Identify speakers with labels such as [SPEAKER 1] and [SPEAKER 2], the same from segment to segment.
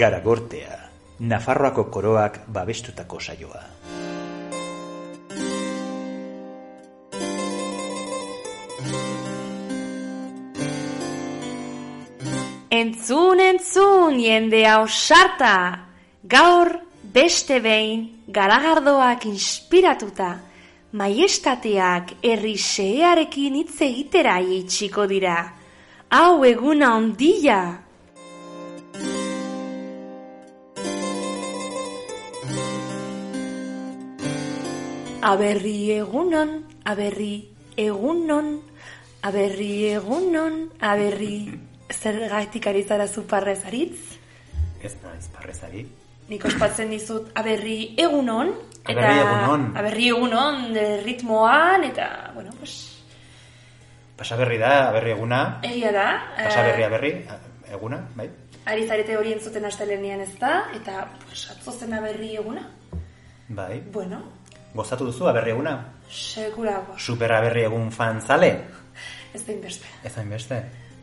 [SPEAKER 1] Garagortea, Nafarroako koroak babestutako saioa.
[SPEAKER 2] Entzun, entzun, jendea osarta! Gaur, beste behin, garagardoak inspiratuta, maiestateak herri xehearekin hitz egitera itxiko dira. Hau eguna ondila! Aberri egunon, aberri egunon, aberri egunon, aberri... Zergatik ari zara zu parrez aritz?
[SPEAKER 1] Ez naiz parrezari.
[SPEAKER 2] Nik ospatzen dizut aberri egunon.
[SPEAKER 1] Aberri egunon.
[SPEAKER 2] Aberri egunon eh, ritmoan, eta, bueno, pues,
[SPEAKER 1] Pasaberri da, aberri eguna.
[SPEAKER 2] egia da. eh,
[SPEAKER 1] Pasaberri aberri, a- eguna, bai?
[SPEAKER 2] Ari zarete hori entzuten astelenean ez da, eta, pues, atzo zen aberri eguna.
[SPEAKER 1] Bai.
[SPEAKER 2] Bueno,
[SPEAKER 1] Gozatu duzu aberri eguna?
[SPEAKER 2] segurago,
[SPEAKER 1] Super aberri egun fanzale?
[SPEAKER 2] ez da inbeste.
[SPEAKER 1] Ez hainbeste.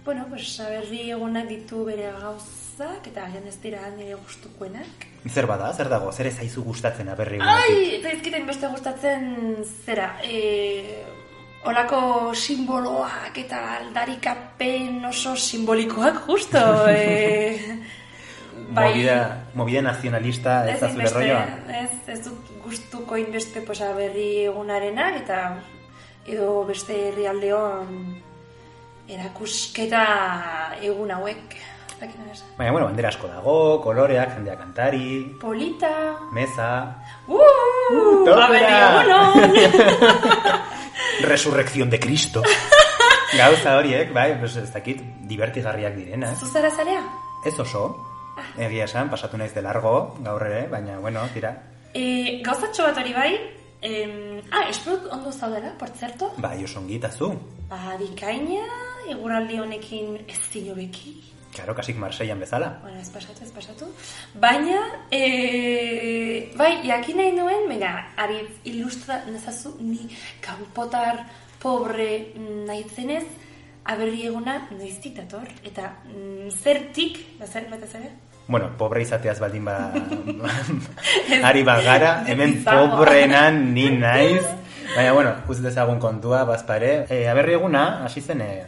[SPEAKER 2] Bueno, pues, aberri egunak ditu bere gauzak, eta agian ez dira nire gustukoenak.
[SPEAKER 1] Zer bada, zer dago, zer ez aizu gustatzen aberri egunatik?
[SPEAKER 2] Ai, zaizkiten beste gustatzen zera, e, olako simboloak eta aldarikapen oso simbolikoak justo. E, bai.
[SPEAKER 1] Movida, movida nazionalista, Bai, ez da zure
[SPEAKER 2] inbeste,
[SPEAKER 1] rolloa.
[SPEAKER 2] ez, ez dut gustuko inbeste posa berri egunarena eta edo beste herrialdeon erakusketa egun hauek. Ez dakit nola esan.
[SPEAKER 1] Baina, bueno, bandera asko dago, koloreak, jendea kantari,
[SPEAKER 2] Polita.
[SPEAKER 1] meza,
[SPEAKER 2] Uh, uh,
[SPEAKER 1] topera!
[SPEAKER 2] egunon.
[SPEAKER 1] Resurrección de Cristo. Gauza horiek, bai, pues ez dakit, divertigarriak direna.
[SPEAKER 2] Zuzara zarea?
[SPEAKER 1] Ez oso, egia esan, pasatu naiz de largo, gaur ere, baina, bueno, tira.
[SPEAKER 2] E, gauzatxo bat hori bai, em, ah, esprut ondo zaudela, por zerto?
[SPEAKER 1] Bai, osongi eta zu.
[SPEAKER 2] Ba, bikaina, eguraldi honekin ez zinobeki.
[SPEAKER 1] Claro, kasik Marseian bezala.
[SPEAKER 2] Bueno, ez pasatu, ez pasatu. Baina, e, bai, jakin nahi nuen, mega, aritz ilustra nezazu ni kanpotar pobre nahizenez, aberri eguna noiztik dator, eta mm, zertik, bazen bat ez ere?
[SPEAKER 1] Bueno, pobre izateaz baldin ba... Ari bagara, hemen
[SPEAKER 2] Ez dago.
[SPEAKER 1] pobrenan ni naiz. Baina, bueno, uz dezagun kontua, bazpare. E, aberri eguna, hasi zen, e,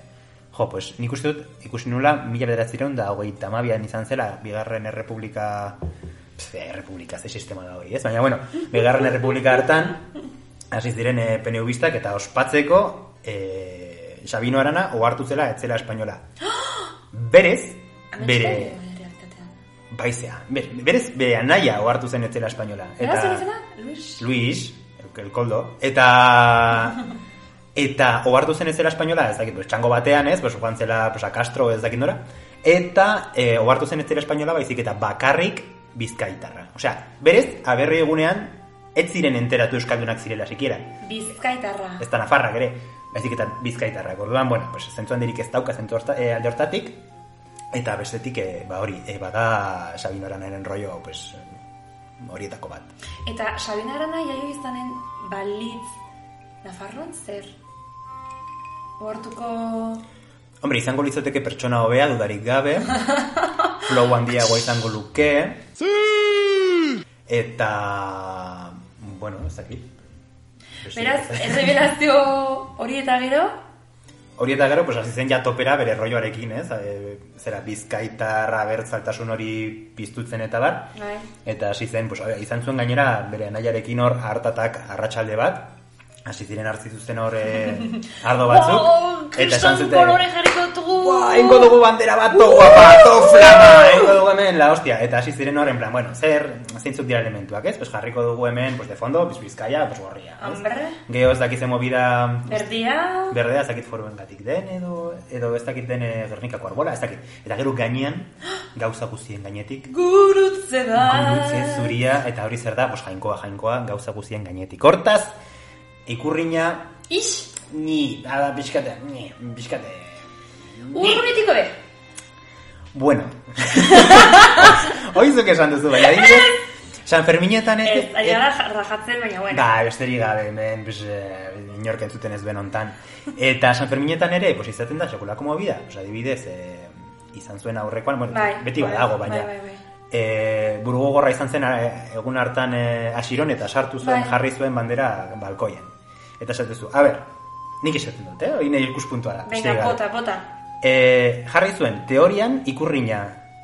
[SPEAKER 1] jo, pues, nik uste dut, ikusi nula, mila bederatzireun da, hogeita hamabian izan zela, bigarren errepublika... Pff, eh, errepublika, ze sistema da hori, ez? Baina, bueno, bigarren errepublika hartan, hasi ziren e, PNUbistak eta ospatzeko, e, Sabino Arana, ohartu zela, etzela espainola. Berez, bere... Baizea. Ber- Berez, bere anaia ohartu zen etzela espainola.
[SPEAKER 2] Eta... Eta... Eta... Luis?
[SPEAKER 1] Luis, el, el koldo, eta... Eta ohartu zen etzela espainola, ez dakit, pues, txango batean, ez, pues, joan zela pues, a Castro, ez dakit nora. Eta e, ohartu zen etzela espainola, baizik eta bakarrik bizkaitarra. Osea, berez, aberri egunean, ez ziren enteratu euskaldunak zirela sikiera.
[SPEAKER 2] Bizkaitarra.
[SPEAKER 1] Ez da nafarrak ere, baizik eta bizkaitarrak. Orduan, bueno, pues, zentzuan dirik ez dauka zentzu horta, e, alde hortatik, eta bestetik, e, ba hori, e, bada Sabinoranaren rollo, pues, horietako bat.
[SPEAKER 2] Eta Sabina Arana jaio izanen balitz Nafarroan zer? Oartuko...
[SPEAKER 1] Hombre, izango litzateke pertsona hobea dudarik gabe, flow handiagoa izango luke, eta, bueno, ez dakit. Beste-
[SPEAKER 2] Beraz, errevelazio hori eta gero,
[SPEAKER 1] Hori eta gero, pues, hasi zen ja topera bere rolloarekin, ez? E, zera, bizkaitarra bertzaltasun hori piztutzen eta bar.
[SPEAKER 2] bai.
[SPEAKER 1] Eta hasi zen, pues, izan zuen gainera bere anaiarekin hor hartatak arratsalde bat, hasi ziren hartzituzten hor eh, ardo batzuk.
[SPEAKER 2] Wow, kriston kolore jarriko dugu!
[SPEAKER 1] "Buah, egingo dugu bandera bat, to guapa, to flama, egingo dugu hemen, la hostia. Eta hasi ziren hor, en plan, bueno, zer, zeintzuk dira elementuak, ez? Pues jarriko dugu hemen, pues de fondo, pues bizkaia, pues gorria, ez?
[SPEAKER 2] Hombre,
[SPEAKER 1] Geo ez dakitzen movida mm,
[SPEAKER 2] berdia...
[SPEAKER 1] berdea ez dakit foruengatik den edo edo ez dakit den eh, Gernikako arbola, ez dakit. Eta gero gainean gauza guztien gainetik.
[SPEAKER 2] Gurutze bai. da.
[SPEAKER 1] Gurutze zuria, eta hori zer da, bos, jainkoa, jainkoa, gauza guztien gainetik. Hortaz, ikurriña,
[SPEAKER 2] Ix,
[SPEAKER 1] ni, ala, pixkate, ni, pixkate.
[SPEAKER 2] urrunetiko be.
[SPEAKER 1] Bueno. Oizuk esan duzu, baina adibidez, San Ferminetan eh, ez...
[SPEAKER 2] Ez, ari gara ja- rajatzen, baina bueno.
[SPEAKER 1] Ba, besterik gabe, hemen, pues, eh, inork entzuten ez ben hontan. Eta San Ferminetan ere, pues, izaten da, sekulako movida. Pues, adibidez, eh, izan zuen aurrekoan, bueno,
[SPEAKER 2] Bai,
[SPEAKER 1] beti
[SPEAKER 2] bai,
[SPEAKER 1] badago, baina.
[SPEAKER 2] bai, bai, bai.
[SPEAKER 1] Eh, Burgo gorra izan zen eh, egun hartan eh, asiron eta sartu zuen,
[SPEAKER 2] Bai.
[SPEAKER 1] jarri zuen bandera balkoian. Eta esaten zu, a ber, nik esaten dut, eh? Hori nahi ikuspuntua da.
[SPEAKER 2] Venga,
[SPEAKER 1] besterik gabe.
[SPEAKER 2] bota, bota.
[SPEAKER 1] E, jarri zuen, teorian, ikurrina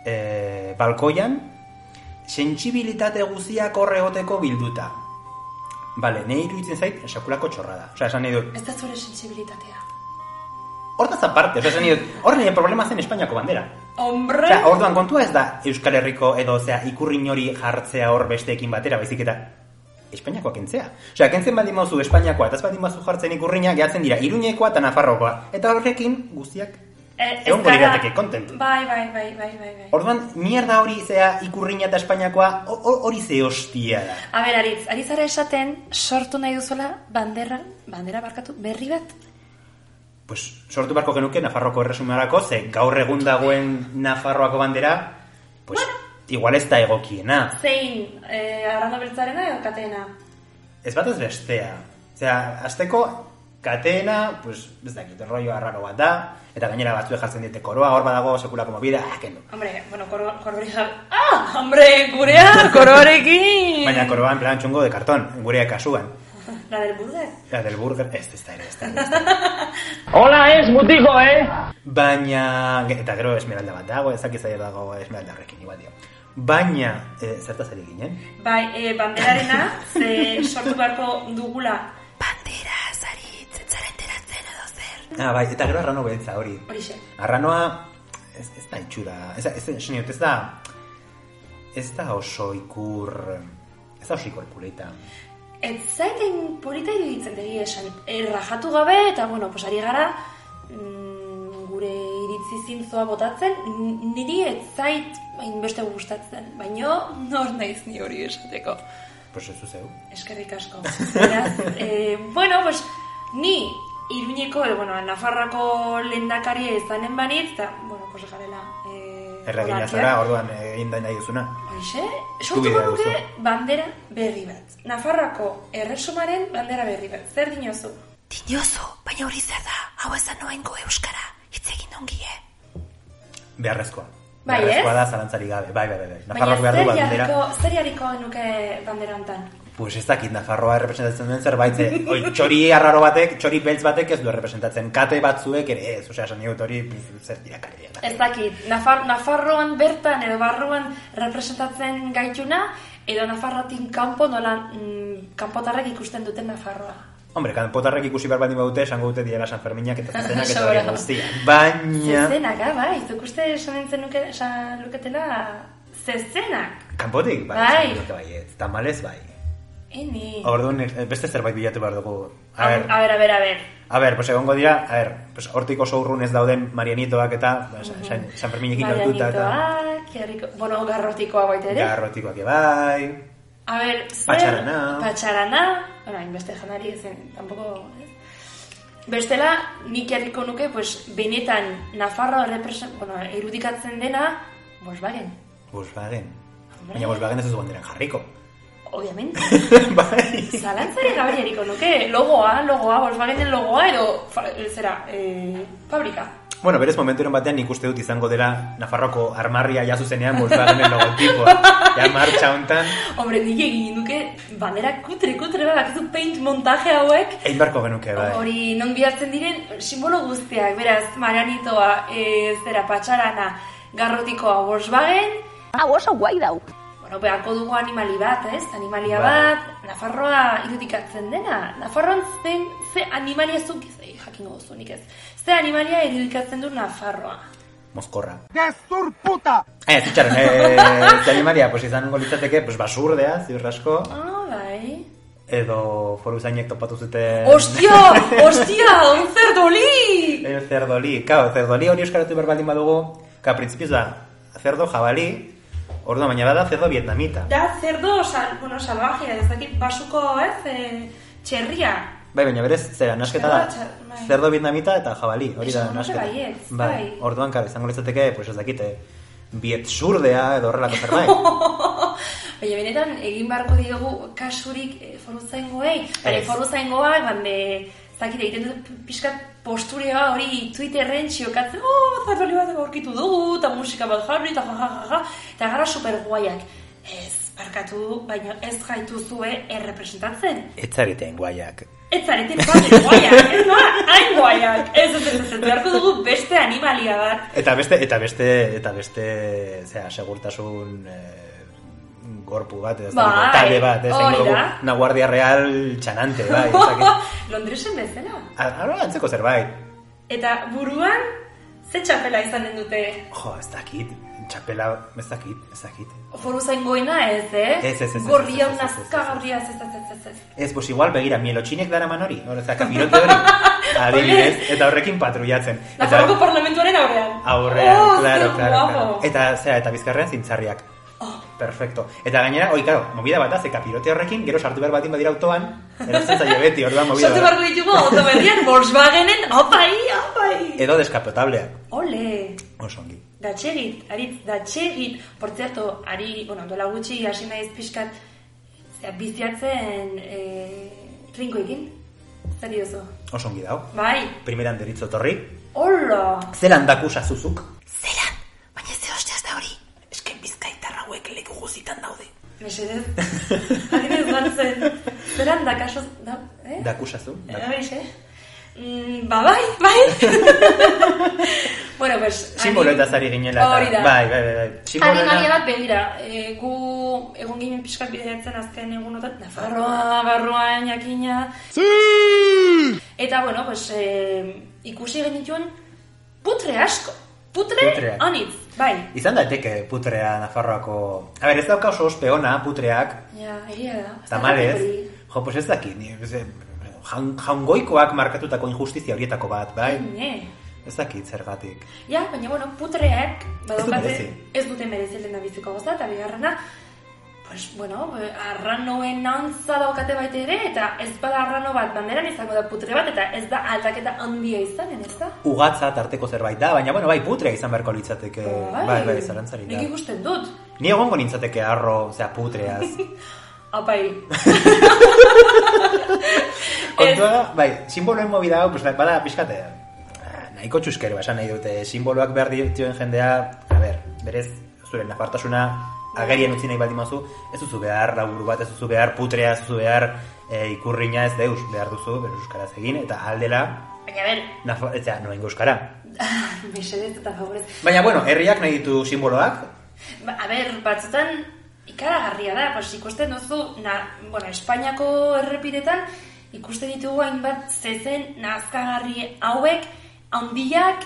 [SPEAKER 1] e, balkoian, sentsibilitate guztiak horre egoteko bilduta. Bale, nahi iruditzen zait, sekulako txorra da. Osea, esan nahi dut,
[SPEAKER 2] Ez da zure sensibilitatea.
[SPEAKER 1] hortaz aparte, osea, esan nahi dut, hor nire problema zen Espainiako bandera.
[SPEAKER 2] Hombre.
[SPEAKER 1] Osea, orduan kontua ez da Euskal Herriko edo, osea, ikurrin hori jartzea hor besteekin batera, baizik eta Espainiakoa kentzea. Osea, kentzen baldin mauzu Espainiakoa, eta ez baldin bazu jartzen ikurrina, gehatzen dira Iruñekoa eta Nafarrokoa. Eta horrekin guztiak
[SPEAKER 2] Eh, ez
[SPEAKER 1] egongo
[SPEAKER 2] gara-
[SPEAKER 1] lirateke kontentu.
[SPEAKER 2] Bai, bai, bai, bai, bai, bai.
[SPEAKER 1] Orduan, mierda hori zea ikurriña eta Espainiakoa, ho- ho- hori ze hostia da.
[SPEAKER 2] A ber, Aritz, ari zara esaten sortu nahi duzuela bandera, bandera barkatu berri bat?
[SPEAKER 1] Pues, sortu beharko genuke Nafarroko erresumarako, ze gaur egun dagoen Nafarroako bandera, pues, igual ez da egokiena.
[SPEAKER 2] Zein, eh, arrando beltzarena edo kateena?
[SPEAKER 1] Ez bat ez bestea. Zera, azteko, kateena, pues, ez dakit, rollo arraro bat da, eta gainera batzuek jartzen diete koroa, hor badago sekulako mobida, ah, kendu.
[SPEAKER 2] Hombre, bueno, kor- korori jabe. Ah, hombre, gurea, kororekin!
[SPEAKER 1] Baina koroa en plan txungo de karton, gurea kasuan.
[SPEAKER 2] La del burger.
[SPEAKER 1] La del burger, ez, ez da ere, ez da ere.
[SPEAKER 3] Hola es, mutico, eh.
[SPEAKER 1] Baina, ge- eta gero esmeralda bat dago, ezak izai dago esmeralda horrekin igual dio. Baina, e, zertaz ari ginen?
[SPEAKER 2] Bai, eh, banderarena, ze sortu beharko dugula. Bandera, zari, zetzaren teratzen edo zer.
[SPEAKER 1] Ah, bai, eta gero arrano beltza hori.
[SPEAKER 2] Horixe.
[SPEAKER 1] Arranoa, ez, ez da itxura, ez, ez, ez, esan diot, ez da, ez da oso ikur, ez da oso ikur puleta.
[SPEAKER 2] Ez zaiten polita iruditzen degi esan. Errajatu gabe, eta bueno, pues ari gara, mm, gure iritzi zintzoa botatzen, n- niri ez zait inbeste gustatzen, baino nor naiz ni hori esateko.
[SPEAKER 1] Pues ez zuzeu.
[SPEAKER 2] Eskerrik asko. Beraz, eh, bueno, pues, ni Iruñeko, eh, bueno, Nafarrako lehendakaria izanen banitz, eta, bueno, pues, garela... Eh,
[SPEAKER 1] Erregina
[SPEAKER 2] olakiak.
[SPEAKER 1] zara, orduan egin da nahi duzuna.
[SPEAKER 2] Hoxe,
[SPEAKER 1] Eskubidea
[SPEAKER 2] sortuko nuke
[SPEAKER 1] duzu.
[SPEAKER 2] bandera berri bat. Nafarrako erresumaren bandera berri bat. Zer dinozu?
[SPEAKER 4] Dinozu, baina hori zer da, hau ezan noengo euskara, hitz egin ongi, eh?
[SPEAKER 1] Beharrezkoa.
[SPEAKER 2] Bai,
[SPEAKER 1] Beharrezkoa
[SPEAKER 2] ez?
[SPEAKER 1] da zalantzari gabe, bai, bai, bai. bai.
[SPEAKER 2] Baina
[SPEAKER 1] Nafarroak behar du
[SPEAKER 2] zer
[SPEAKER 1] bandera.
[SPEAKER 2] jarriko, zer jarriko nuke bandera hontan?
[SPEAKER 1] Pues ez dakit, Nafarroa representatzen duen zerbait, ze, oi, txori arraro batek, txori beltz batek ez du representatzen, kate batzuek ere ez, osea, esan digut hori, pf, zer dira karia.
[SPEAKER 2] Ez dakit, Nafar, Nafarroan bertan edo barruan representatzen gaituna, edo Nafarroatik kanpo nola mm, kanpotarrek ikusten duten Nafarroa.
[SPEAKER 1] Hombre, kanpotarrek ikusi behar badin badute, esango dute dira San Ferminak eta zezenak eta
[SPEAKER 2] Sobra.
[SPEAKER 1] hori guztia. Baina,
[SPEAKER 2] Zezenak, ah, bai, zuk uste esan zenuke, esan luketela zezenak.
[SPEAKER 1] kanpotik, bai,
[SPEAKER 2] Bai.
[SPEAKER 1] esango dute bai, ez, tamalez bai.
[SPEAKER 2] Eni.
[SPEAKER 1] Orduan, eh, beste zerbait bilatu behar dugu. A
[SPEAKER 2] A
[SPEAKER 1] ber,
[SPEAKER 2] a ber, a ber, a ber.
[SPEAKER 1] a ber, pues egongo dira, a ber, pues hortik oso urrun ez dauden Marianitoak eta ba, San, San, San Ferminekin
[SPEAKER 2] Bai,
[SPEAKER 1] lotuta eta
[SPEAKER 2] Marianitoak, jarriko... ah, Bueno, garrotikoa baita ere.
[SPEAKER 1] garrotikoak ere bai.
[SPEAKER 2] A ber, zer...
[SPEAKER 1] Patxarana.
[SPEAKER 2] Patxarana. Bueno, hainbeste janari ezen, tampoco... ez? Bestela, nik jarriko nuke, pues, benetan Nafarro represent... Bueno, erudikatzen dena, Volkswagen.
[SPEAKER 1] Volkswagen. Baina Volkswagen ez duzu banderan jarriko.
[SPEAKER 2] Obviamente.
[SPEAKER 1] bai.
[SPEAKER 2] Zalantzari gabe jarriko nuke. Logoa, logoa, Volkswagenen logoa, edo... fa- Zera, eh, fabrika.
[SPEAKER 1] Bueno, berez momenturen batean nik uste dut izango dela Nafarroko armarria ja zuzenean Volkswagenen logotipoa. ja martxa hontan
[SPEAKER 2] Hombre, nik egin nuke bandera kutre, kutre, bat, bakizu paint montaje hauek,
[SPEAKER 1] egin beharko genuke bai.
[SPEAKER 2] Hori, non bihartzen diren eh, simbolo guztiak, beraz, maranitoa, e, zera, patxarana, garrotikoa, Volkswagen,
[SPEAKER 4] Hau Ah, oso guai dau.
[SPEAKER 2] bueno, beharko dugu animali bat, ez? Animalia
[SPEAKER 1] Bai.
[SPEAKER 2] bat, Nafarroa irudikatzen dena. Nafarroan zen, ze animalia zuk, ze, jakingo duzu nik ez, ze animalia irudikatzen du Nafarroa.
[SPEAKER 1] Mozkorra.
[SPEAKER 5] ¡Destur puta!
[SPEAKER 1] Eh, zitxaron, eh, ze animalia, pues izango litzateke, pues basurdea, ziur asko,
[SPEAKER 2] Ah, bai.
[SPEAKER 1] edo foruzainek topatu zuten...
[SPEAKER 2] Ostia, ostia, un zerdoli!
[SPEAKER 1] Eh, El zerdoli, kao, zerdoli hori euskaratu behar baldin badugu, ka, printzipioz da, zerdo jabali, orduan baina bada zerdo vietnamita.
[SPEAKER 5] Da, zerdo, sal, bueno, salvajia, ez dakit, basuko, ez, eh, txerria.
[SPEAKER 1] Bai, baina berez, zera, nasketa da,
[SPEAKER 5] Zerdo txar- bai.
[SPEAKER 1] zerdo vietnamita eta jabali, hori da
[SPEAKER 5] Esango nuke
[SPEAKER 1] nasketa.
[SPEAKER 5] baietz, bai.
[SPEAKER 1] orduan, karo, izango litzateke, pues ez dakite, bietzurdea edo horrelako zerbait.
[SPEAKER 5] Oh.
[SPEAKER 2] Baina benetan egin beharko diogu kasurik e, foruzaingoei. Baina
[SPEAKER 1] Ez.
[SPEAKER 2] foruzaingoak, bande, ez dakit egiten dut pixkat posturea hori Twitterren txiokatzen, oh, zartoli bat aurkitu dugu, eta musika bat jarri, eta ja, ja, ja, ja, eta gara superguaiak. Ez, barkatu, baina ez gaituzue errepresentatzen.
[SPEAKER 1] Ez zariten guaiak.
[SPEAKER 2] Ez zareten bat guaiak, ez noa, hain guaiak. Ez, ez, ez, ez, beharko dugu beste animalia bat.
[SPEAKER 1] Eta beste, eta beste, eta beste, zera, segurtasun eh, gorpu bat, ez dakit,
[SPEAKER 2] Bai,
[SPEAKER 1] talde bat, ez
[SPEAKER 2] hori
[SPEAKER 1] dakit, dugu,
[SPEAKER 2] da.
[SPEAKER 1] una guardia real txanante, bai, ez dakit.
[SPEAKER 2] Londresen bezala.
[SPEAKER 1] Ara, antzeko zerbait,
[SPEAKER 5] Eta buruan, ze txapela izanen dute.
[SPEAKER 1] jo, ez dakit, txapela, ez dakit, ez dakit.
[SPEAKER 2] Foru zaingoena ez, eh?
[SPEAKER 1] Ez, ez, ez, ez,
[SPEAKER 2] Gorria
[SPEAKER 1] ez, ez, ez, ez, ez.
[SPEAKER 2] nazkagarria, ez, ez, ez, ez, ez.
[SPEAKER 1] Ez, pues igual, begira, mielotxinek dara man hori, hori, eta kapirote hori, adibidez, eta horrekin patrullatzen. Eta
[SPEAKER 5] Nafarroko parlamentuaren aurrean.
[SPEAKER 1] aurrean,
[SPEAKER 5] Oh,
[SPEAKER 1] claro,
[SPEAKER 5] ze
[SPEAKER 1] claro, claro.
[SPEAKER 5] guapo.
[SPEAKER 1] Eta, zera, eta bizkarrean zintzarriak.
[SPEAKER 2] Oh.
[SPEAKER 1] Perfecto. Eta gainera, oi, claro, movida bat, ze kapirote horrekin, gero sartu behar batin badira autoan, erosten zaio beti, orduan movida
[SPEAKER 5] Sartu
[SPEAKER 1] bat.
[SPEAKER 5] barko ditugu auto berrian Volkswagenen, opai, opai.
[SPEAKER 1] Edo deskapotablea,
[SPEAKER 2] Ole!
[SPEAKER 1] oso ongi.
[SPEAKER 2] Datxegit, aritz, datxegit. Por cierto, ari, bueno, dola gutxi, hasi naiz pixkat, zera, biziatzen e, trinkoekin. Zer diozu?
[SPEAKER 1] Oso ongi dao.
[SPEAKER 2] Bai,
[SPEAKER 1] Primeran deritzo torri.
[SPEAKER 2] hola!
[SPEAKER 1] Zelan dakusa zuzuk.
[SPEAKER 4] Zeran, baina ze hostiaz da hori. Esken bizkaitar hauek leku guzitan daude.
[SPEAKER 2] Mesedez, adibidez gartzen. Zeran da, kaso, da, eh?
[SPEAKER 1] Dakusa zu.
[SPEAKER 2] A
[SPEAKER 1] Dak-
[SPEAKER 2] ver, eh? Mm, ba, bai, bai. bueno, pues... ani-
[SPEAKER 1] Sinboloetaz ari ginela. eta-
[SPEAKER 2] Hori da.
[SPEAKER 1] Bai, bai, bai. bai. Sinboloena-
[SPEAKER 2] Animalia bat begira, e, gu egon ginen pixkat bideratzen azken egunotan, Nafarroa, barruan, jakina. Eta, bueno, pues, e, ikusi genituen putre asko. Putre,
[SPEAKER 1] Putreak.
[SPEAKER 2] anitz, bai.
[SPEAKER 1] Izan daiteke putrea Nafarroako... A ber, ez dauka oso ospe ona putreak,
[SPEAKER 2] Ja, egia da. Ez
[SPEAKER 1] Tamalez,
[SPEAKER 2] dakit hori.
[SPEAKER 1] jo, pues ez dakit, ni, ez, jaun, jaungoikoak markatutako injustizia horietako bat, bai?
[SPEAKER 2] Ne.
[SPEAKER 1] Ez dakit zergatik.
[SPEAKER 2] Ja, baina, bueno, putreak, badaukate,
[SPEAKER 1] merezi.
[SPEAKER 2] ez dute merezi lehen da biziko goza, eta bigarrena, pues, bueno, eh, arranoen antza daukate baita ere, eta ez bada arrano bat banderan izango da putre bat, eta ez da aldaketa handia izanen, ez da?
[SPEAKER 1] Ugatza tarteko zerbait da, baina, bueno, bai, putrea izan beharko litzateke, bai, bai, zarantzari da.
[SPEAKER 2] Nik ikusten dut.
[SPEAKER 1] Ni egongo nintzateke arro, zera, putreaz.
[SPEAKER 2] Apai.
[SPEAKER 1] Kontua da, bai, simboloen movida hau, pues, bada, pixkate, ah, nahiko txuskero, esan nahi dute, simboloak behar dituen jendea, a ber, berez, zure nafartasuna agerian utzi nahi baldin mazu, ez duzu behar laburu bat, ez duzu behar putrea, ez duzu behar eh, ikurriña, ez deus, behar duzu, behar euskaraz egin, eta aldela,
[SPEAKER 2] Baina, ber,
[SPEAKER 1] nafa, ez da, noen euskara.
[SPEAKER 2] mesedez eta favorez.
[SPEAKER 1] Baina, bueno, herriak nahi ditu simboloak,
[SPEAKER 2] Ba, a ber, batzutan ikaragarria da, pues, ikusten duzu, na, bueno, Espainiako errepidetan ikusten ditugu hainbat zezen nazkagarri hauek, handiak,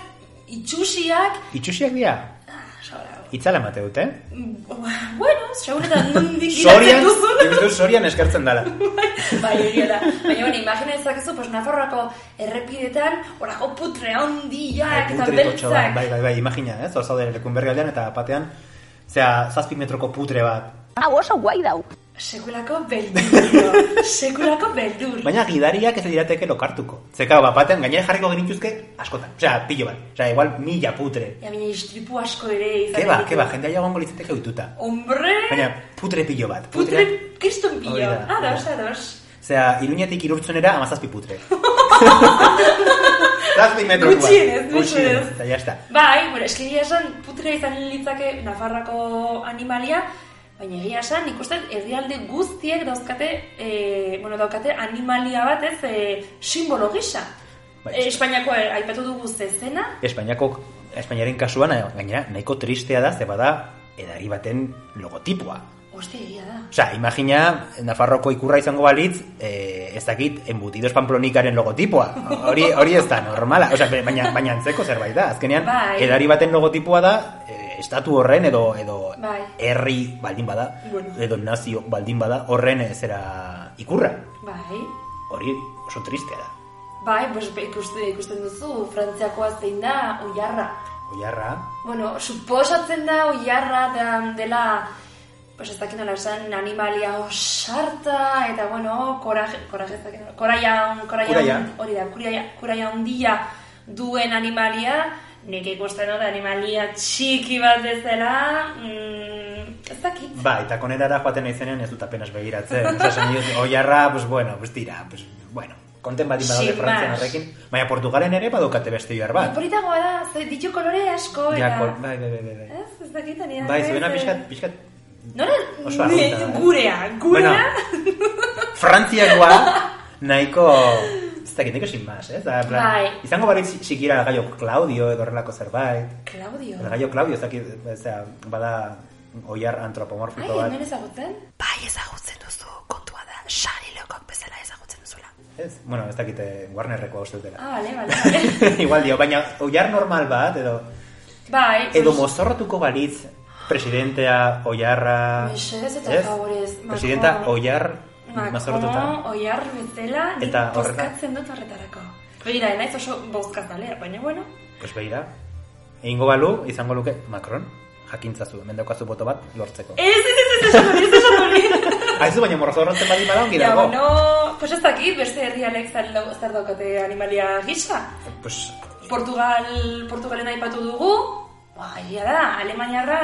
[SPEAKER 2] itxusiak,
[SPEAKER 1] itxusiak dira,
[SPEAKER 2] ah, sobra.
[SPEAKER 1] itzala mate dute, eh?
[SPEAKER 2] Mm, Bueno, segun eta nondik
[SPEAKER 1] Sorian,
[SPEAKER 2] iratzen duzun.
[SPEAKER 1] nik uste dut sorian eskertzen dala.
[SPEAKER 2] bai, egia da. Baina, bueno, imagina ezakezu, pues, Nafarroako errepidetan, orako putre handiak, eta
[SPEAKER 1] Putre kotxo bat,
[SPEAKER 2] beltzak.
[SPEAKER 1] bai, bai, bai, imagina, ez? Hor zauden lekun bergaldean eta batean, zera, zazpi metroko putre bat.
[SPEAKER 4] Hau oso guai dau.
[SPEAKER 2] Sekulako beldur. sekulako beldur.
[SPEAKER 1] Baina gidariak ez dirateke lokartuko. Zeka, bat batean, gainera jarriko genituzke askotan. Osea, pilo bat. Osea, igual mila putre.
[SPEAKER 2] Ja, baina istripu asko ere izan.
[SPEAKER 1] Keba,
[SPEAKER 2] ditu.
[SPEAKER 1] keba, ba, jendea jagongo litzateke oituta.
[SPEAKER 2] Hombre!
[SPEAKER 1] Baina, putre pilo bat.
[SPEAKER 2] putre kriston
[SPEAKER 1] Hori
[SPEAKER 2] pilo.
[SPEAKER 1] da.
[SPEAKER 2] Ados, ados.
[SPEAKER 1] Zera, iruñetik irurtzonera amazazpi putre. Zazpi metrokoa.
[SPEAKER 2] Gutxienez,
[SPEAKER 1] Gutxienez,
[SPEAKER 2] mesedez.
[SPEAKER 1] Eta jazta.
[SPEAKER 2] Bai, bueno, eskiria esan putrea izan litzake Nafarrako animalia, baina egia esan ikusten herrialde guztiek dauzkate, e, bueno, daukate animalia bat ez e, simbolo gisa.
[SPEAKER 1] Bai.
[SPEAKER 2] E, Espainiako e, aipatu dugu zezena,
[SPEAKER 1] Espainiako, Espainiaren kasuan, gainera, nahiko tristea da, ze bada, edari baten logotipoa.
[SPEAKER 2] hoste egia da.
[SPEAKER 1] Osea, imagina, Nafarroko ikurra izango balitz, eh, ez dakit, embutidos pamplonikaren logotipoa. Hori, hori ez da normala. Osea, be- baina, baina antzeko zerbait da. Azkenean,
[SPEAKER 2] Bai.
[SPEAKER 1] edari baten logotipoa da, eh, estatu horren edo edo
[SPEAKER 2] Bai.
[SPEAKER 1] herri baldin bada,
[SPEAKER 2] Bueno.
[SPEAKER 1] edo nazio baldin bada, horren eh, zera ikurra.
[SPEAKER 2] Bai,
[SPEAKER 1] Hori oso tristea da.
[SPEAKER 2] bai, pues, ikusten, ikusten duzu, frantziakoa zein da, oiarra.
[SPEAKER 1] Oiarra,
[SPEAKER 2] Bueno, suposatzen da oiarra da, dela, pues ez dakit nola esan, animalia osarta, eta bueno, koraje, koraje ez dakit nola, koraia, koraia,
[SPEAKER 1] Kuraia.
[SPEAKER 2] hori da, kuraia, kuraia handia duen animalia, nik ikusten dut animalia txiki bat bezala, mm, ez dakit.
[SPEAKER 1] Ba, eta konerara joaten naizenean ez dut apenas begiratzen. Osa, esan diot, oiarra, pues bueno, pues tira, pues bueno. Konten bat
[SPEAKER 2] Sin
[SPEAKER 1] badaude frantzian
[SPEAKER 2] más.
[SPEAKER 1] horrekin. Baina Portugalen ere badukate beste oiar bat.
[SPEAKER 2] Politagoa da, ze ditu kolore asko,
[SPEAKER 1] Ba. Ja,
[SPEAKER 2] eta...
[SPEAKER 1] kol- bai, bai, bai, bai.
[SPEAKER 2] Ez, ez dakit, ari da.
[SPEAKER 1] Bai,
[SPEAKER 2] ez,
[SPEAKER 1] zuena
[SPEAKER 2] eh,
[SPEAKER 1] pixkat, pixkat.
[SPEAKER 2] Nola?
[SPEAKER 1] Oso arrunta da, eh?
[SPEAKER 5] Gurea, gurea.
[SPEAKER 1] Bueno, frantziakoa nahiko... Ez dakit, nahiko sin más, ez? Da, en plan,
[SPEAKER 2] Bai.
[SPEAKER 1] Izango baritz sikira gaio Claudio edo horrelako zerbait.
[SPEAKER 2] Claudio.
[SPEAKER 1] El gallo Claudio, ez dakit, ozea, bada oiar
[SPEAKER 2] Ai,
[SPEAKER 1] antropomorfiko bat.
[SPEAKER 2] hemen ezagutzen?
[SPEAKER 4] Bai ezagutzen duzu, kontua da, sari lokok bezala ezagutzen duzula.
[SPEAKER 1] Ez, bueno, ez dakit, eh, Warnerreko uste dutela.
[SPEAKER 2] Ah, bale, bale, bale.
[SPEAKER 1] Igual dio, baina oiar normal bat, edo...
[SPEAKER 2] Bai,
[SPEAKER 1] Edo
[SPEAKER 2] pues-
[SPEAKER 1] mozorratuko balitz presidentea oiarra...
[SPEAKER 2] Mesedez eta
[SPEAKER 1] ez?
[SPEAKER 2] favorez, Macron.
[SPEAKER 1] Presidenta oiar mazorratuta.
[SPEAKER 2] Macron, ba, oiar bezala, nik
[SPEAKER 1] Eta horreta-
[SPEAKER 2] bozkatzen dut horretarako. Begira, naiz oso bozkazalea, baina bueno,
[SPEAKER 1] Pues beira, egingo balu, izango luke Macron, jakintzazu, hemen daukazu boto bat lortzeko.
[SPEAKER 2] ez, ez, ez, ez, esan hori, ez, esan hori.
[SPEAKER 1] Aizu baina mozorratzen bali bada ongi
[SPEAKER 2] Ja,
[SPEAKER 1] dago.
[SPEAKER 2] bueno, pues ez dakit, beste herrialek zer dau- zer daukate animalia gisa.
[SPEAKER 1] Pues,
[SPEAKER 2] Portugal, Portugalen aipatu dugu, bai, ia da, Alemaniarra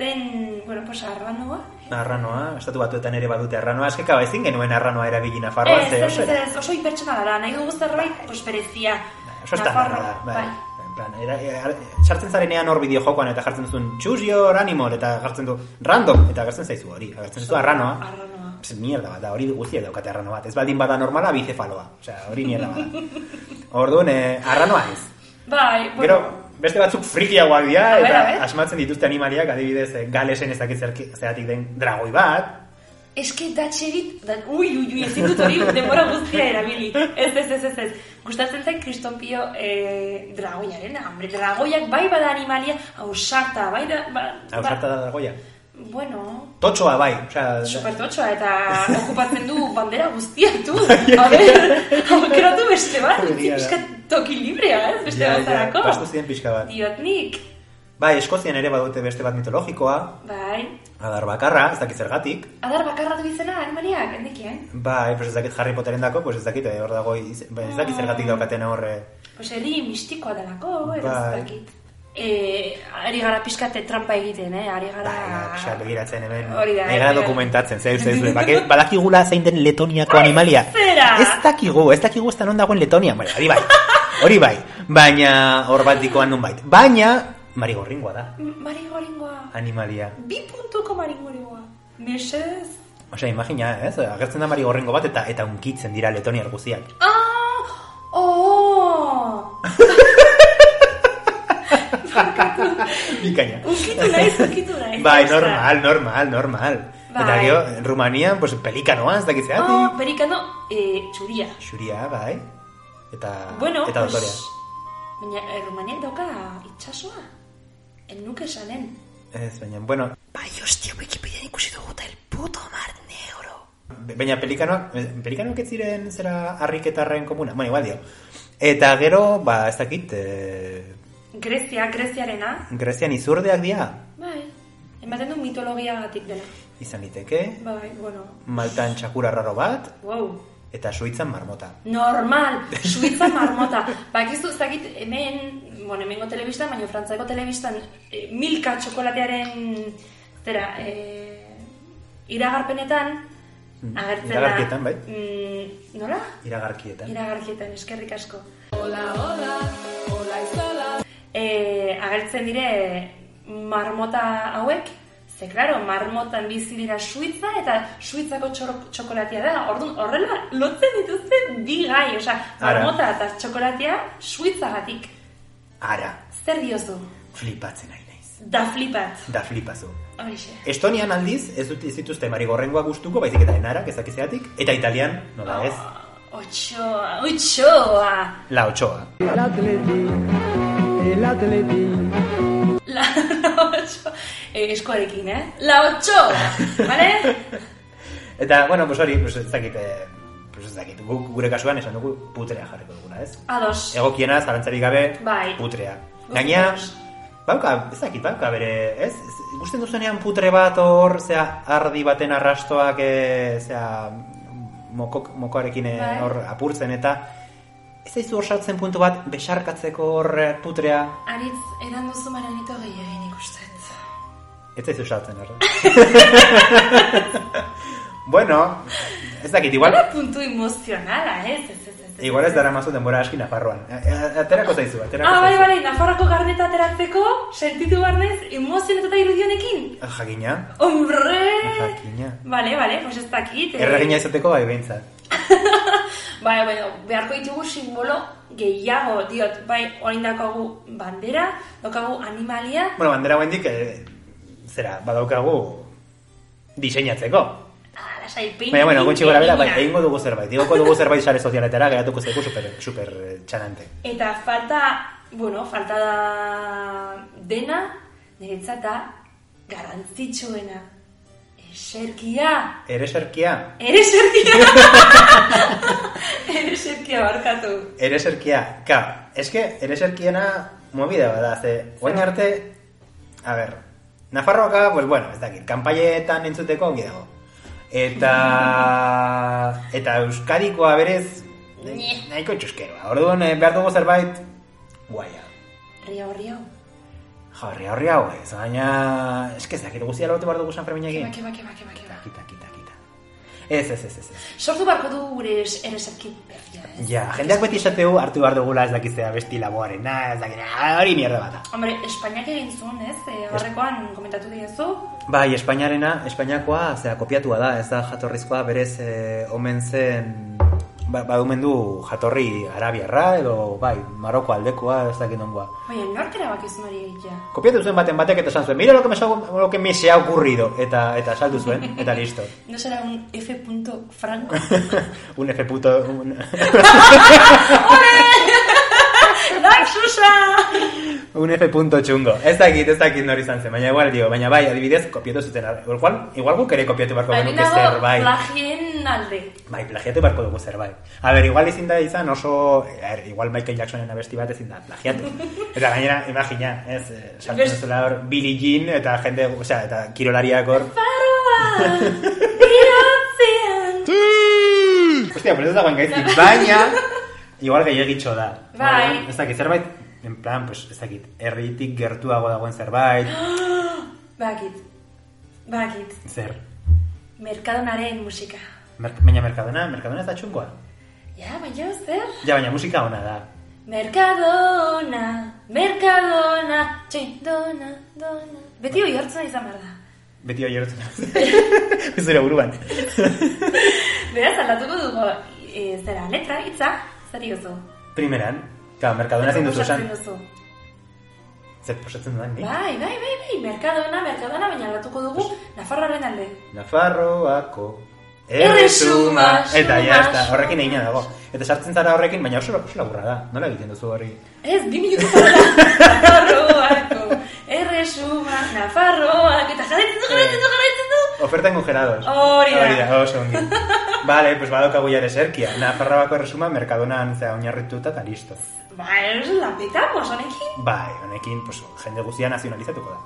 [SPEAKER 2] zen, bueno, pues arranoa.
[SPEAKER 1] arranoa, estatu batuetan ere badute arranoa, eskeka ba, ezin genuen arranoa erabili Nafarroa,
[SPEAKER 2] Ez,
[SPEAKER 1] ze
[SPEAKER 2] ez,
[SPEAKER 1] oso
[SPEAKER 2] ez,
[SPEAKER 1] era.
[SPEAKER 2] ez, oso impertsonala da, nahi dugu zerbait, pues berezia.
[SPEAKER 1] Oso estandarra da,
[SPEAKER 2] Nafarroa,
[SPEAKER 1] bai. En plan, era, era- sartzen zarenean hor bideo jokoan eta jartzen duzun choose your animal eta jartzen du random eta agertzen zaizu hori, agertzen zaizu arranoa.
[SPEAKER 2] Arranoa.
[SPEAKER 1] Pues, mierda bat da, hori guztiak daukate arrano bat. Ez baldin bada normala, bizefaloa. Osea, hori mierda bat. Orduan, eh, arranoa ez.
[SPEAKER 2] Bai, bueno.
[SPEAKER 1] Gero, beste batzuk frikiagoak dira,
[SPEAKER 2] A ber,
[SPEAKER 1] eta
[SPEAKER 2] a ber.
[SPEAKER 1] asmatzen dituzte animaliak, adibidez, eh, galesen ez dakit zerki- zeratik den dragoi bat.
[SPEAKER 2] Eske datxerit, da, ui, ui, ui, ezin dut hori denbora guztia erabili. Ez, ez, ez, ez, ez. Gustatzen zen kriston pio eh, dragoiaren, hombre, dragoiak bai bada animalia, hausarta, bai da... Ba,
[SPEAKER 1] Ausarta da dragoia.
[SPEAKER 2] Ba, bueno,
[SPEAKER 1] Totxoa bai, osea,
[SPEAKER 2] supertotxoa eta okupatzen du bandera guztia, tu. A ber, aukeratu beste bat, utzi
[SPEAKER 1] Egia da.
[SPEAKER 2] pixka toki librea, eh, ez, beste
[SPEAKER 1] ja,
[SPEAKER 2] ja,
[SPEAKER 1] ja, pastu ziren pixka bat.
[SPEAKER 2] Diot nik,
[SPEAKER 1] Bai, Eskozian ere badute beste bat mitologikoa,
[SPEAKER 2] bai,
[SPEAKER 1] adar bakarra, ez dakit zergatik.
[SPEAKER 2] adar bakarra du izena animaliak, endekien.
[SPEAKER 1] Bai, pues ez dakit Harry Potteren dako, pues ez dakit, eh, hor dago, iz- ba, ez dakit zergatik daukaten eh, horre.
[SPEAKER 2] Pues herri mistikoa delako, eta ez
[SPEAKER 1] Bai.
[SPEAKER 2] dakit. E, ari gara pixkate trampa egiten, eh? Ari gara...
[SPEAKER 1] Bai, osea, begiratzen hemen,
[SPEAKER 2] Hori da, eh.
[SPEAKER 1] nahi gara
[SPEAKER 2] hori da.
[SPEAKER 1] dokumentatzen, zer, zer, zer, bake- badakigula zein den Letoniako animalia.
[SPEAKER 2] zera!
[SPEAKER 1] Ez dakigu, ez dakigu ez non dagoen Letonia, Bueno, hori bai, hori bai, baina hor bat dikoan nun bait. Baina, marigorringoa da,
[SPEAKER 2] M- Marigoringoa.
[SPEAKER 1] animalia.
[SPEAKER 2] Bi puntuko marigoringoa. Mesez.
[SPEAKER 1] Osea, imagina, ez, agertzen da marigorringo bat eta eta unkitzen dira Letoniar guztiak.
[SPEAKER 2] Ah! Oh!
[SPEAKER 1] Bikaina.
[SPEAKER 2] Ukitu naiz, ukitu naiz.
[SPEAKER 1] Bai, normal, normal, normal.
[SPEAKER 2] Bai.
[SPEAKER 1] Eta gero, Rumanian, pues, pelikanoa, ez dakit
[SPEAKER 2] Oh,
[SPEAKER 1] zeatik.
[SPEAKER 2] berikano, eh, txuria.
[SPEAKER 1] Xuria, bai. Eta,
[SPEAKER 2] Bueno,
[SPEAKER 1] eta
[SPEAKER 2] pues,
[SPEAKER 1] dotorea.
[SPEAKER 2] Baina, eh, Rumaniak dauka itxasoa. El nuke esanen.
[SPEAKER 1] Ez, baina, bueno,
[SPEAKER 4] Bai hostia, Wikipedian ikusi dugu eta el puto mar negro.
[SPEAKER 1] Be- Baina pelikanoak, pelikanoak ez ziren zera harriketarren komuna, bueno, igual dio. Eta gero, ba, ez dakit, e,
[SPEAKER 2] Grezia, Greziarena.
[SPEAKER 1] Grezian izurdeak dira,
[SPEAKER 2] Bai. Ematen du mitologia gatik dela.
[SPEAKER 1] izan liteke,
[SPEAKER 2] Bai, bueno,
[SPEAKER 1] Maltan txakura raro bat,
[SPEAKER 2] wow.
[SPEAKER 1] eta Suitzan marmota.
[SPEAKER 2] Normal, Suiza marmota. Bakizu, ez dakit, hemen, bueno, hemengo telebistan, baina frantzako telebistan, e, milka txokolatearen, zera, e, iragarpenetan, agertzen da.
[SPEAKER 1] Mm. iragarkietan, bai.
[SPEAKER 2] Mm, nola?
[SPEAKER 1] Iragarkietan.
[SPEAKER 2] Iragarkietan, eskerrik asko. Hola, hola, hola, izala. E, agertzen dire marmota hauek, ze claro, marmotan bizi dira Suiza eta Suizako txor- txokolatea da. Orduan horrela lotzen dituzte bi gai, osea,
[SPEAKER 1] Ara.
[SPEAKER 2] marmota eta txokolatea Suizagatik.
[SPEAKER 1] Ara,
[SPEAKER 2] Zer diozu?
[SPEAKER 1] flipatzen ari naiz.
[SPEAKER 2] Da flipat.
[SPEAKER 1] Da flipazu.
[SPEAKER 2] Horixe.
[SPEAKER 1] Estonian aldiz, ez dut ez dituzte marigorrengoa gustuko, baizik eta enarak ezakizeatik, eta italian, nola ez,
[SPEAKER 2] Otxoa, otxoa.
[SPEAKER 1] la ochoa.
[SPEAKER 6] El atleti, el atleti,
[SPEAKER 2] La, la otxo, eh, eskuarekin, eh? La otxo, bale?
[SPEAKER 1] Eta, bueno, pues hori, pues ez dakit, eh, pues ez dakit, guk gure kasuan esan dugu putrea jarriko dugula, ez?
[SPEAKER 2] Ados.
[SPEAKER 1] Egokiena, zalantzarik gabe,
[SPEAKER 2] Bai.
[SPEAKER 1] putrea. Gaina, bauka, ez dakit, bauka bere, ez? Ez- Ikusten duzunean putre bat hor, zea, ardi baten arrastoak, e, zea, mokok, mokoarekin e,
[SPEAKER 7] Bai.
[SPEAKER 1] hor apurtzen, eta ez zaizu hor sartzen puntu bat, besarkatzeko hor eh, putrea,
[SPEAKER 7] Aritz, edan duzu maranito gehiagin ikustet.
[SPEAKER 1] ez zaizu sartzen, hor. bueno, ez dakit, igual,
[SPEAKER 2] Una puntu emozionala, ez, ez, ez, ez.
[SPEAKER 1] igual ez dara mazu denbora aski Nafarroan. E, e, Aterako zaizu, aterako
[SPEAKER 2] Ah, bai,
[SPEAKER 1] zaizu.
[SPEAKER 2] bai, Nafarroko garneta ateratzeko, sentitu barnez, emozionatuta irudionekin.
[SPEAKER 1] Jakina,
[SPEAKER 2] Hombre!
[SPEAKER 1] jakina.
[SPEAKER 2] Vale, vale, pues ez dakit. eh.
[SPEAKER 1] Erregina izateko bai behintzat.
[SPEAKER 2] Bai, bueno, beharko ditugu simbolo gehiago, diot, bai, orain daukagu bandera, daukagu animalia,
[SPEAKER 1] Bueno, bandera guendik, eh, zera, badaukagu diseinatzeko.
[SPEAKER 2] ala, saipin.
[SPEAKER 1] Baina, bueno, gutxi gora bera, bai, egingo dugu zerbait. Digoko dugu zerbait sare sozialetara, geratuko zaigu super, super eh, txanante.
[SPEAKER 2] Eta falta, bueno, falta da dena, niretzat da, garrantzitsuena. Eserkia!
[SPEAKER 1] Ereserkia,
[SPEAKER 2] Ere serkia! Ere serkia barkatu.
[SPEAKER 1] ereserkia, ka. Eske, ereserkiena movida bada, ze, guain arte, a ber, Nafarroaka, pues bueno, ez dakit, kanpaietan entzuteko ongi dago. Eta, eta Euskadikoa berez, nahiko txuskeroa. Orduan, eh, behar dugu zerbait, guaia.
[SPEAKER 2] Ria horria.
[SPEAKER 1] Jarri horri hau, ez, baina... Ez que zakit guztia lotu behar dugu San Ferminekin.
[SPEAKER 2] Keba, keba, keba, keba.
[SPEAKER 1] Kita, kita, kita. Ez, ez, ez, ez. ez.
[SPEAKER 2] Sortu barko dugu gure ere serki berria, ez?
[SPEAKER 1] Ja, jendeak beti esateu hartu behar dugula ez dakizea besti laboarena, ez dakit, ah, hori mierda bata.
[SPEAKER 2] Hombre, Espainiak egin zuen, ez? E, agarrekoan komentatu diezu.
[SPEAKER 1] Bai, Espainiarena, Espainiakoa, zera, kopiatua da, ez da jatorrizkoa berez eh, omen zen, ba, badumen du jatorri arabiarra, edo, bai, maroko aldekoa, ez dakit nongoa.
[SPEAKER 2] Baina, nork erabaki zuen hori egitea?
[SPEAKER 1] Kopiatu zuen baten batek eta esan zuen, mira lo que me, sa- lo que me se ha ocurrido, eta, eta saldu zuen, eta listo.
[SPEAKER 2] No será un F. Franco.
[SPEAKER 1] un F puto, un,
[SPEAKER 2] ¡Dai, Susa!
[SPEAKER 1] Un F punto txungo. Ez dakit, ez dakit nori izan zen, baina igual dio, baina bai, adibidez, kopiatu zuten. ar- Igual, igual guk ere kopiatu barko
[SPEAKER 2] Baina
[SPEAKER 1] genuke
[SPEAKER 2] nago
[SPEAKER 1] zerbait.
[SPEAKER 2] plagien alde.
[SPEAKER 1] Bai, plagiatu barko dugu zerbait. A ber, igual ezin da izan oso, er, igual Michael Jacksonen abesti bat ezin da plagiatu. Eta gainera, imagina, ez, eh, sartu
[SPEAKER 2] Best-
[SPEAKER 1] zela hor Billie Jean eta jende, osea, eta kirolariak hor.
[SPEAKER 2] Faroa, bihotzean.
[SPEAKER 1] Hostia, pues ez dagoen gaizki, baina, igual gehiagitxo da.
[SPEAKER 2] Bai.
[SPEAKER 1] Baina, Ez dakit, zerbait, en plan, pues, ez dakit, herritik gertuago dagoen zerbait,
[SPEAKER 2] Bakit, bakit,
[SPEAKER 1] zer.
[SPEAKER 2] merkadonaren musika.
[SPEAKER 1] Merk, baina Mercadona, Mercadona ez da txungoa.
[SPEAKER 2] Ja, baina zer?
[SPEAKER 1] Ja, baina musika ona da.
[SPEAKER 2] Merkadona, merkadona, txin, dona, dona. Beti hori hartzen izan behar da.
[SPEAKER 1] Beti hori horretzen Zure buruan.
[SPEAKER 2] Beraz, aldatuko dugu, e, zera, letra, hitza, zer diozu?
[SPEAKER 1] Primeran, ka, Mercadona zein duzu esan.
[SPEAKER 2] Sartzen duzu.
[SPEAKER 1] Zer posatzen dudan, ni?
[SPEAKER 2] Bai, bai, bai, bai, merkadona, merkadona, baina aldatuko dugu, Nafarroaren alde.
[SPEAKER 1] Nafarroako
[SPEAKER 2] Erresuma,
[SPEAKER 1] erresuma. Eta
[SPEAKER 2] suma,
[SPEAKER 1] ja, está,
[SPEAKER 2] suma.
[SPEAKER 1] horrekin egina dago. Eta sartzen zara horrekin, baina oso, oso laburra da. Nola egiten duzu hori?
[SPEAKER 2] Ez, bi minutu Nafarroako, erresuma, Nafarroak, eta jarraitzen du, jarraitzen du, jarraitzen du.
[SPEAKER 1] Oferta congelados.
[SPEAKER 2] Hori da.
[SPEAKER 1] oso ongi. Vale, pues badaukagu jare serkia. Nafarroako erresuma, Mercadonan zera oinarrituta eta listo.
[SPEAKER 2] Ba, ez la petamos, honekin.
[SPEAKER 1] Bai, honekin, pues, jende guztia nazionalizatuko da.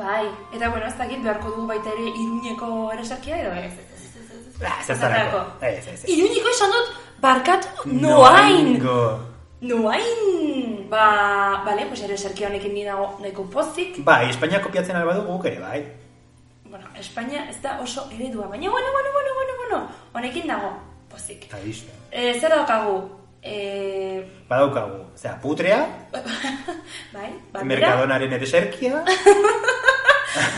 [SPEAKER 2] Bai, eta bueno, ez dakit beharko dugu baita ere iruñeko eresakia edo ez. ez, ez, ez, ez, ez.
[SPEAKER 1] Ah, zer zarako. Ez, ez, ez.
[SPEAKER 2] Iruñeko esan dut, barkatu, noain.
[SPEAKER 1] Noaingo.
[SPEAKER 2] Noain. Ba, bale, pues eresakia honekin ni dago nahiko pozik.
[SPEAKER 1] Bai, Espainia kopiatzen alba dugu guk ere, bai.
[SPEAKER 2] Bueno, Espainia ez da oso eredua, baina bueno, bueno, bueno, bueno, bueno, honekin dago pozik.
[SPEAKER 1] Eta listo.
[SPEAKER 2] E, zer daukagu? E,
[SPEAKER 1] Badaukagu, zera, putrea,
[SPEAKER 2] bai, bandera,
[SPEAKER 1] Mercadonaren ereserkia,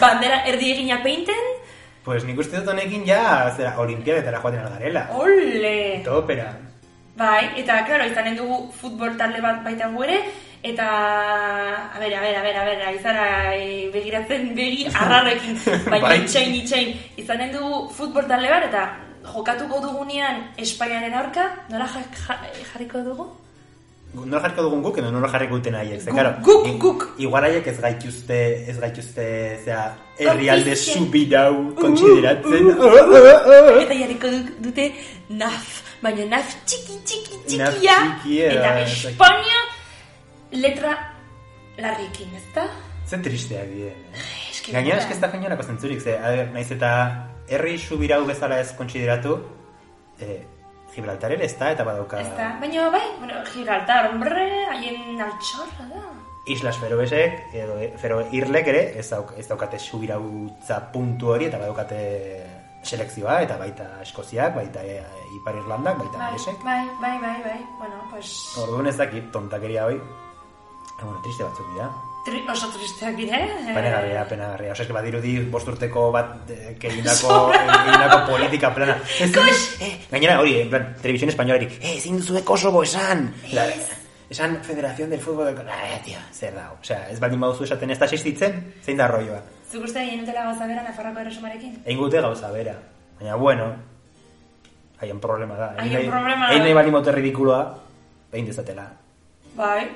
[SPEAKER 2] bandera erdi egina peinten.
[SPEAKER 1] pues nik uste dut honekin ja, zera, olimpiadetara joaten algarela.
[SPEAKER 2] Ole!
[SPEAKER 1] Eta opera.
[SPEAKER 2] Bai, eta, claro, izanen dugu futbol talde bat baita gu ere, eta, a ber, a ber, a ber, a ber, aizara e, begiratzen begi arrarrekin, baina
[SPEAKER 1] Bai.
[SPEAKER 2] itxain, itxain, izanen dugu futbol talde bat, eta jokatuko dugunean Espainiaren aurka, nola ja, ja, jarriko dugu?
[SPEAKER 1] Nor jarriko dugun guk, edo nor jarriko duten haiek, ze,
[SPEAKER 2] Guk,
[SPEAKER 1] karo.
[SPEAKER 2] guk,
[SPEAKER 1] i-
[SPEAKER 2] guk.
[SPEAKER 1] Igual haiek ez gaituzte, ez gaituzte, zera, herrialde
[SPEAKER 2] Konfizien. Uh,
[SPEAKER 1] subidau kontsideratzen.
[SPEAKER 2] Eta jarriko du- dute naf, baina naf txiki, txiki,
[SPEAKER 1] Naf
[SPEAKER 2] txikia,
[SPEAKER 1] txikia,
[SPEAKER 2] eta
[SPEAKER 1] ez dakit.
[SPEAKER 2] Espainia letra Larrikin, ez da?
[SPEAKER 1] Zen tristeak diren.
[SPEAKER 2] eske
[SPEAKER 1] Gainera
[SPEAKER 2] nola.
[SPEAKER 1] eski ez da kainolako zentzurik, ze, a ber, naiz eta herri subirau bezala ez kontsideratu, eh, Gibraltar ere ez da, eta badauka
[SPEAKER 2] Ez da. Baina bai, bueno, Gibraltar, hombre, haien altxorra da.
[SPEAKER 1] Islas Feroesek, edo e- Fero Irlek ere, ez, dauk, ez daukate subirautza puntu hori, eta badaukate selekzioa, eta baita Eskoziak, baita e, Ipar Irlandak, baita
[SPEAKER 2] Bai,
[SPEAKER 1] Galesek.
[SPEAKER 2] bai, bai, bai, bai. Bueno, pues...
[SPEAKER 1] Orduan ez dakit, tontakeria hori. E, bueno, triste batzuk dira.
[SPEAKER 2] Tri, oso tristeak dire. eh,
[SPEAKER 1] Penagarria, penagarria. Osa, eske badirudi bost urteko bat eh, que egindako, egindako politika plana. Ez, eh, gainera hori, en plan, televisión españolari, eh, ezin duzue Kosovo esan! La, esan Federación del Fútbol del... Ah, tio, zer da, osea, ez baldin baduzu esaten ez da seistitzen, zein da rolloa.
[SPEAKER 2] Zuk uste egin dutela gauza bera Nafarroko erresumarekin?
[SPEAKER 1] Egin dute gauza bera. Baina, bueno, haien problema da.
[SPEAKER 2] Haien problema da.
[SPEAKER 1] Egin nahi baldin baute ridikuloa, egin dezatela.
[SPEAKER 2] Bai.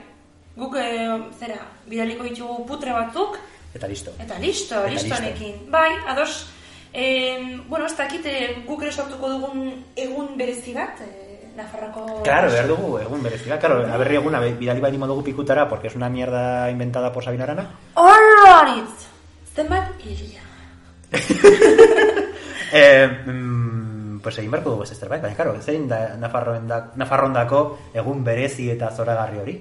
[SPEAKER 2] Guk, eh, zera, bidaliko ditugu putre batzuk,
[SPEAKER 1] Eta listo.
[SPEAKER 2] Eta listo,
[SPEAKER 1] Eta
[SPEAKER 2] listo
[SPEAKER 1] listo.
[SPEAKER 2] honekin. Bai, ados, eh, bueno, ez dakit eh, guk ere sortuko dugun egun berezi bat, eh, Nafarrako...
[SPEAKER 1] Claro, behar dugu, egun berezila. Claro, aberri eguna be- bidali baldin badugu pikutara, porque es una mierda inventada por Sabina Arana.
[SPEAKER 2] Horroritz! Zenbat iria.
[SPEAKER 1] Eh, mm, pues egin beharko dugu ez zerbait, baina, claro, zein da Nafarroendak- Nafarrondako egun berezi eta zoragarri hori?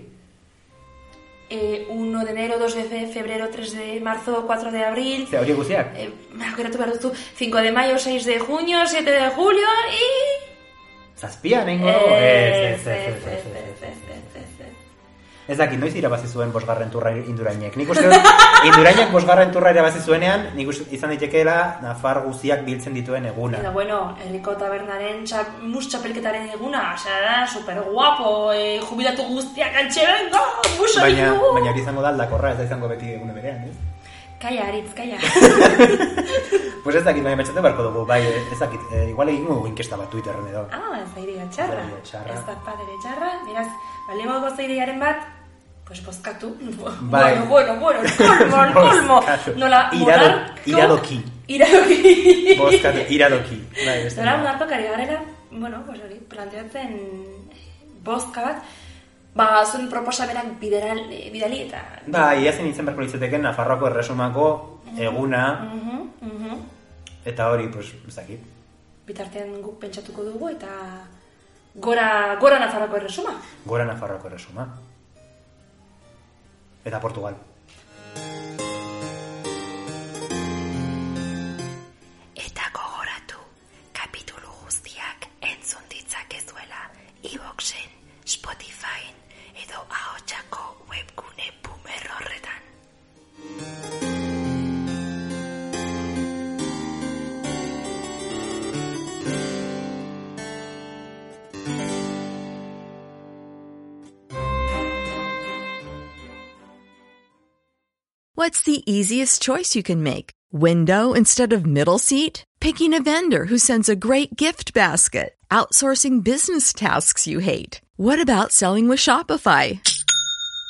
[SPEAKER 2] Eh, 1 de enero, 2 de fe- febrero, 3 de marzo, 4 de abril...
[SPEAKER 1] Ze hori guztiak?
[SPEAKER 2] Eh, aukeratu behar duzu 5 de mayo, 6 de junio, 7 de julio y...
[SPEAKER 1] Zazpian egingo dugu?
[SPEAKER 2] Ez,
[SPEAKER 1] Ez,
[SPEAKER 2] Eh, ez, ez, ez, ez, ez,
[SPEAKER 1] ez.
[SPEAKER 2] ez, ez, ez.
[SPEAKER 1] Ez dakit, noiz irabazi zuen bosgarren turra indurainek. Nik uste dut, indurainek bosgarren turra irabazi zuenean, nik uste izan daitekeela Nafar guztiak biltzen dituen
[SPEAKER 2] Eta,
[SPEAKER 1] eguna.
[SPEAKER 2] bueno, herriko tabernaren txap, mus txapelketaren eguna, osea, da, super guapo, eh, jubilatu guztiak antxeren, go, musa
[SPEAKER 1] Baina,
[SPEAKER 2] ditugu!
[SPEAKER 1] baina hori izango da aldakorra, ez da izango beti egune berean, ez?
[SPEAKER 2] Kaia, aritz, kaia.
[SPEAKER 1] Pues ez dakit, baina pentsatu beharko dugu, bai, ez dakit, e, igual egingo dugu inkesta bat Twitterren edo.
[SPEAKER 2] ah, ez da idea
[SPEAKER 1] Ez da
[SPEAKER 2] txarra.
[SPEAKER 1] idea txarra.
[SPEAKER 2] Ez da padere txarra, beraz, bale moduko zeidearen bat, pues bozkatu.
[SPEAKER 1] Bai.
[SPEAKER 2] Bueno, bueno, bueno, el colmo, el colmo.
[SPEAKER 1] Bozkatu.
[SPEAKER 2] Nola,
[SPEAKER 1] Irado-
[SPEAKER 2] monarkok-
[SPEAKER 1] iradoki.
[SPEAKER 2] Iradoki.
[SPEAKER 1] Bozkatu, iradoki. Bai, ez
[SPEAKER 2] Nola,
[SPEAKER 1] da.
[SPEAKER 2] monarkok ari garela, bueno, pues hori, planteatzen eh, bozka bat, ba, zuen proposamenak bideral, eh, bidali eta...
[SPEAKER 1] Bai, ia zen izan beharko litzateke Nafarroako erresumako eguna,
[SPEAKER 2] Mhm, mhm.
[SPEAKER 1] eta hori, pues, ez dakit.
[SPEAKER 2] Bitartean guk pentsatuko dugu eta gora, gora Nafarroko erresuma.
[SPEAKER 1] Gora Nafarroako erresuma. Eta Portugal.
[SPEAKER 4] Eta gogoratu, kapitulu guztiak entzun ditzakezuela iBoxen, Spotifyen edo ahotsako webgune boomer horretan.
[SPEAKER 8] What's the easiest choice you can make? Window instead of middle seat? Picking a vendor who sends a great gift basket? Outsourcing business tasks you hate? What about selling with Shopify?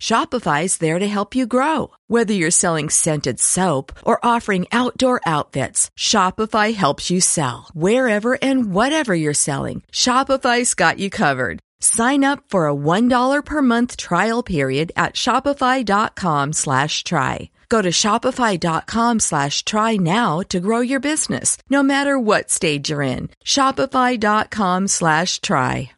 [SPEAKER 8] Shopify's there to help you grow. Whether you're selling scented soap or offering outdoor outfits, Shopify helps you sell. Wherever and whatever you're selling, Shopify's got you covered. Sign up for a $1 per month trial period at shopify.com slash try. Go to shopify.com slash try now to grow your business, no matter what stage you're in. Shopify.com slash try.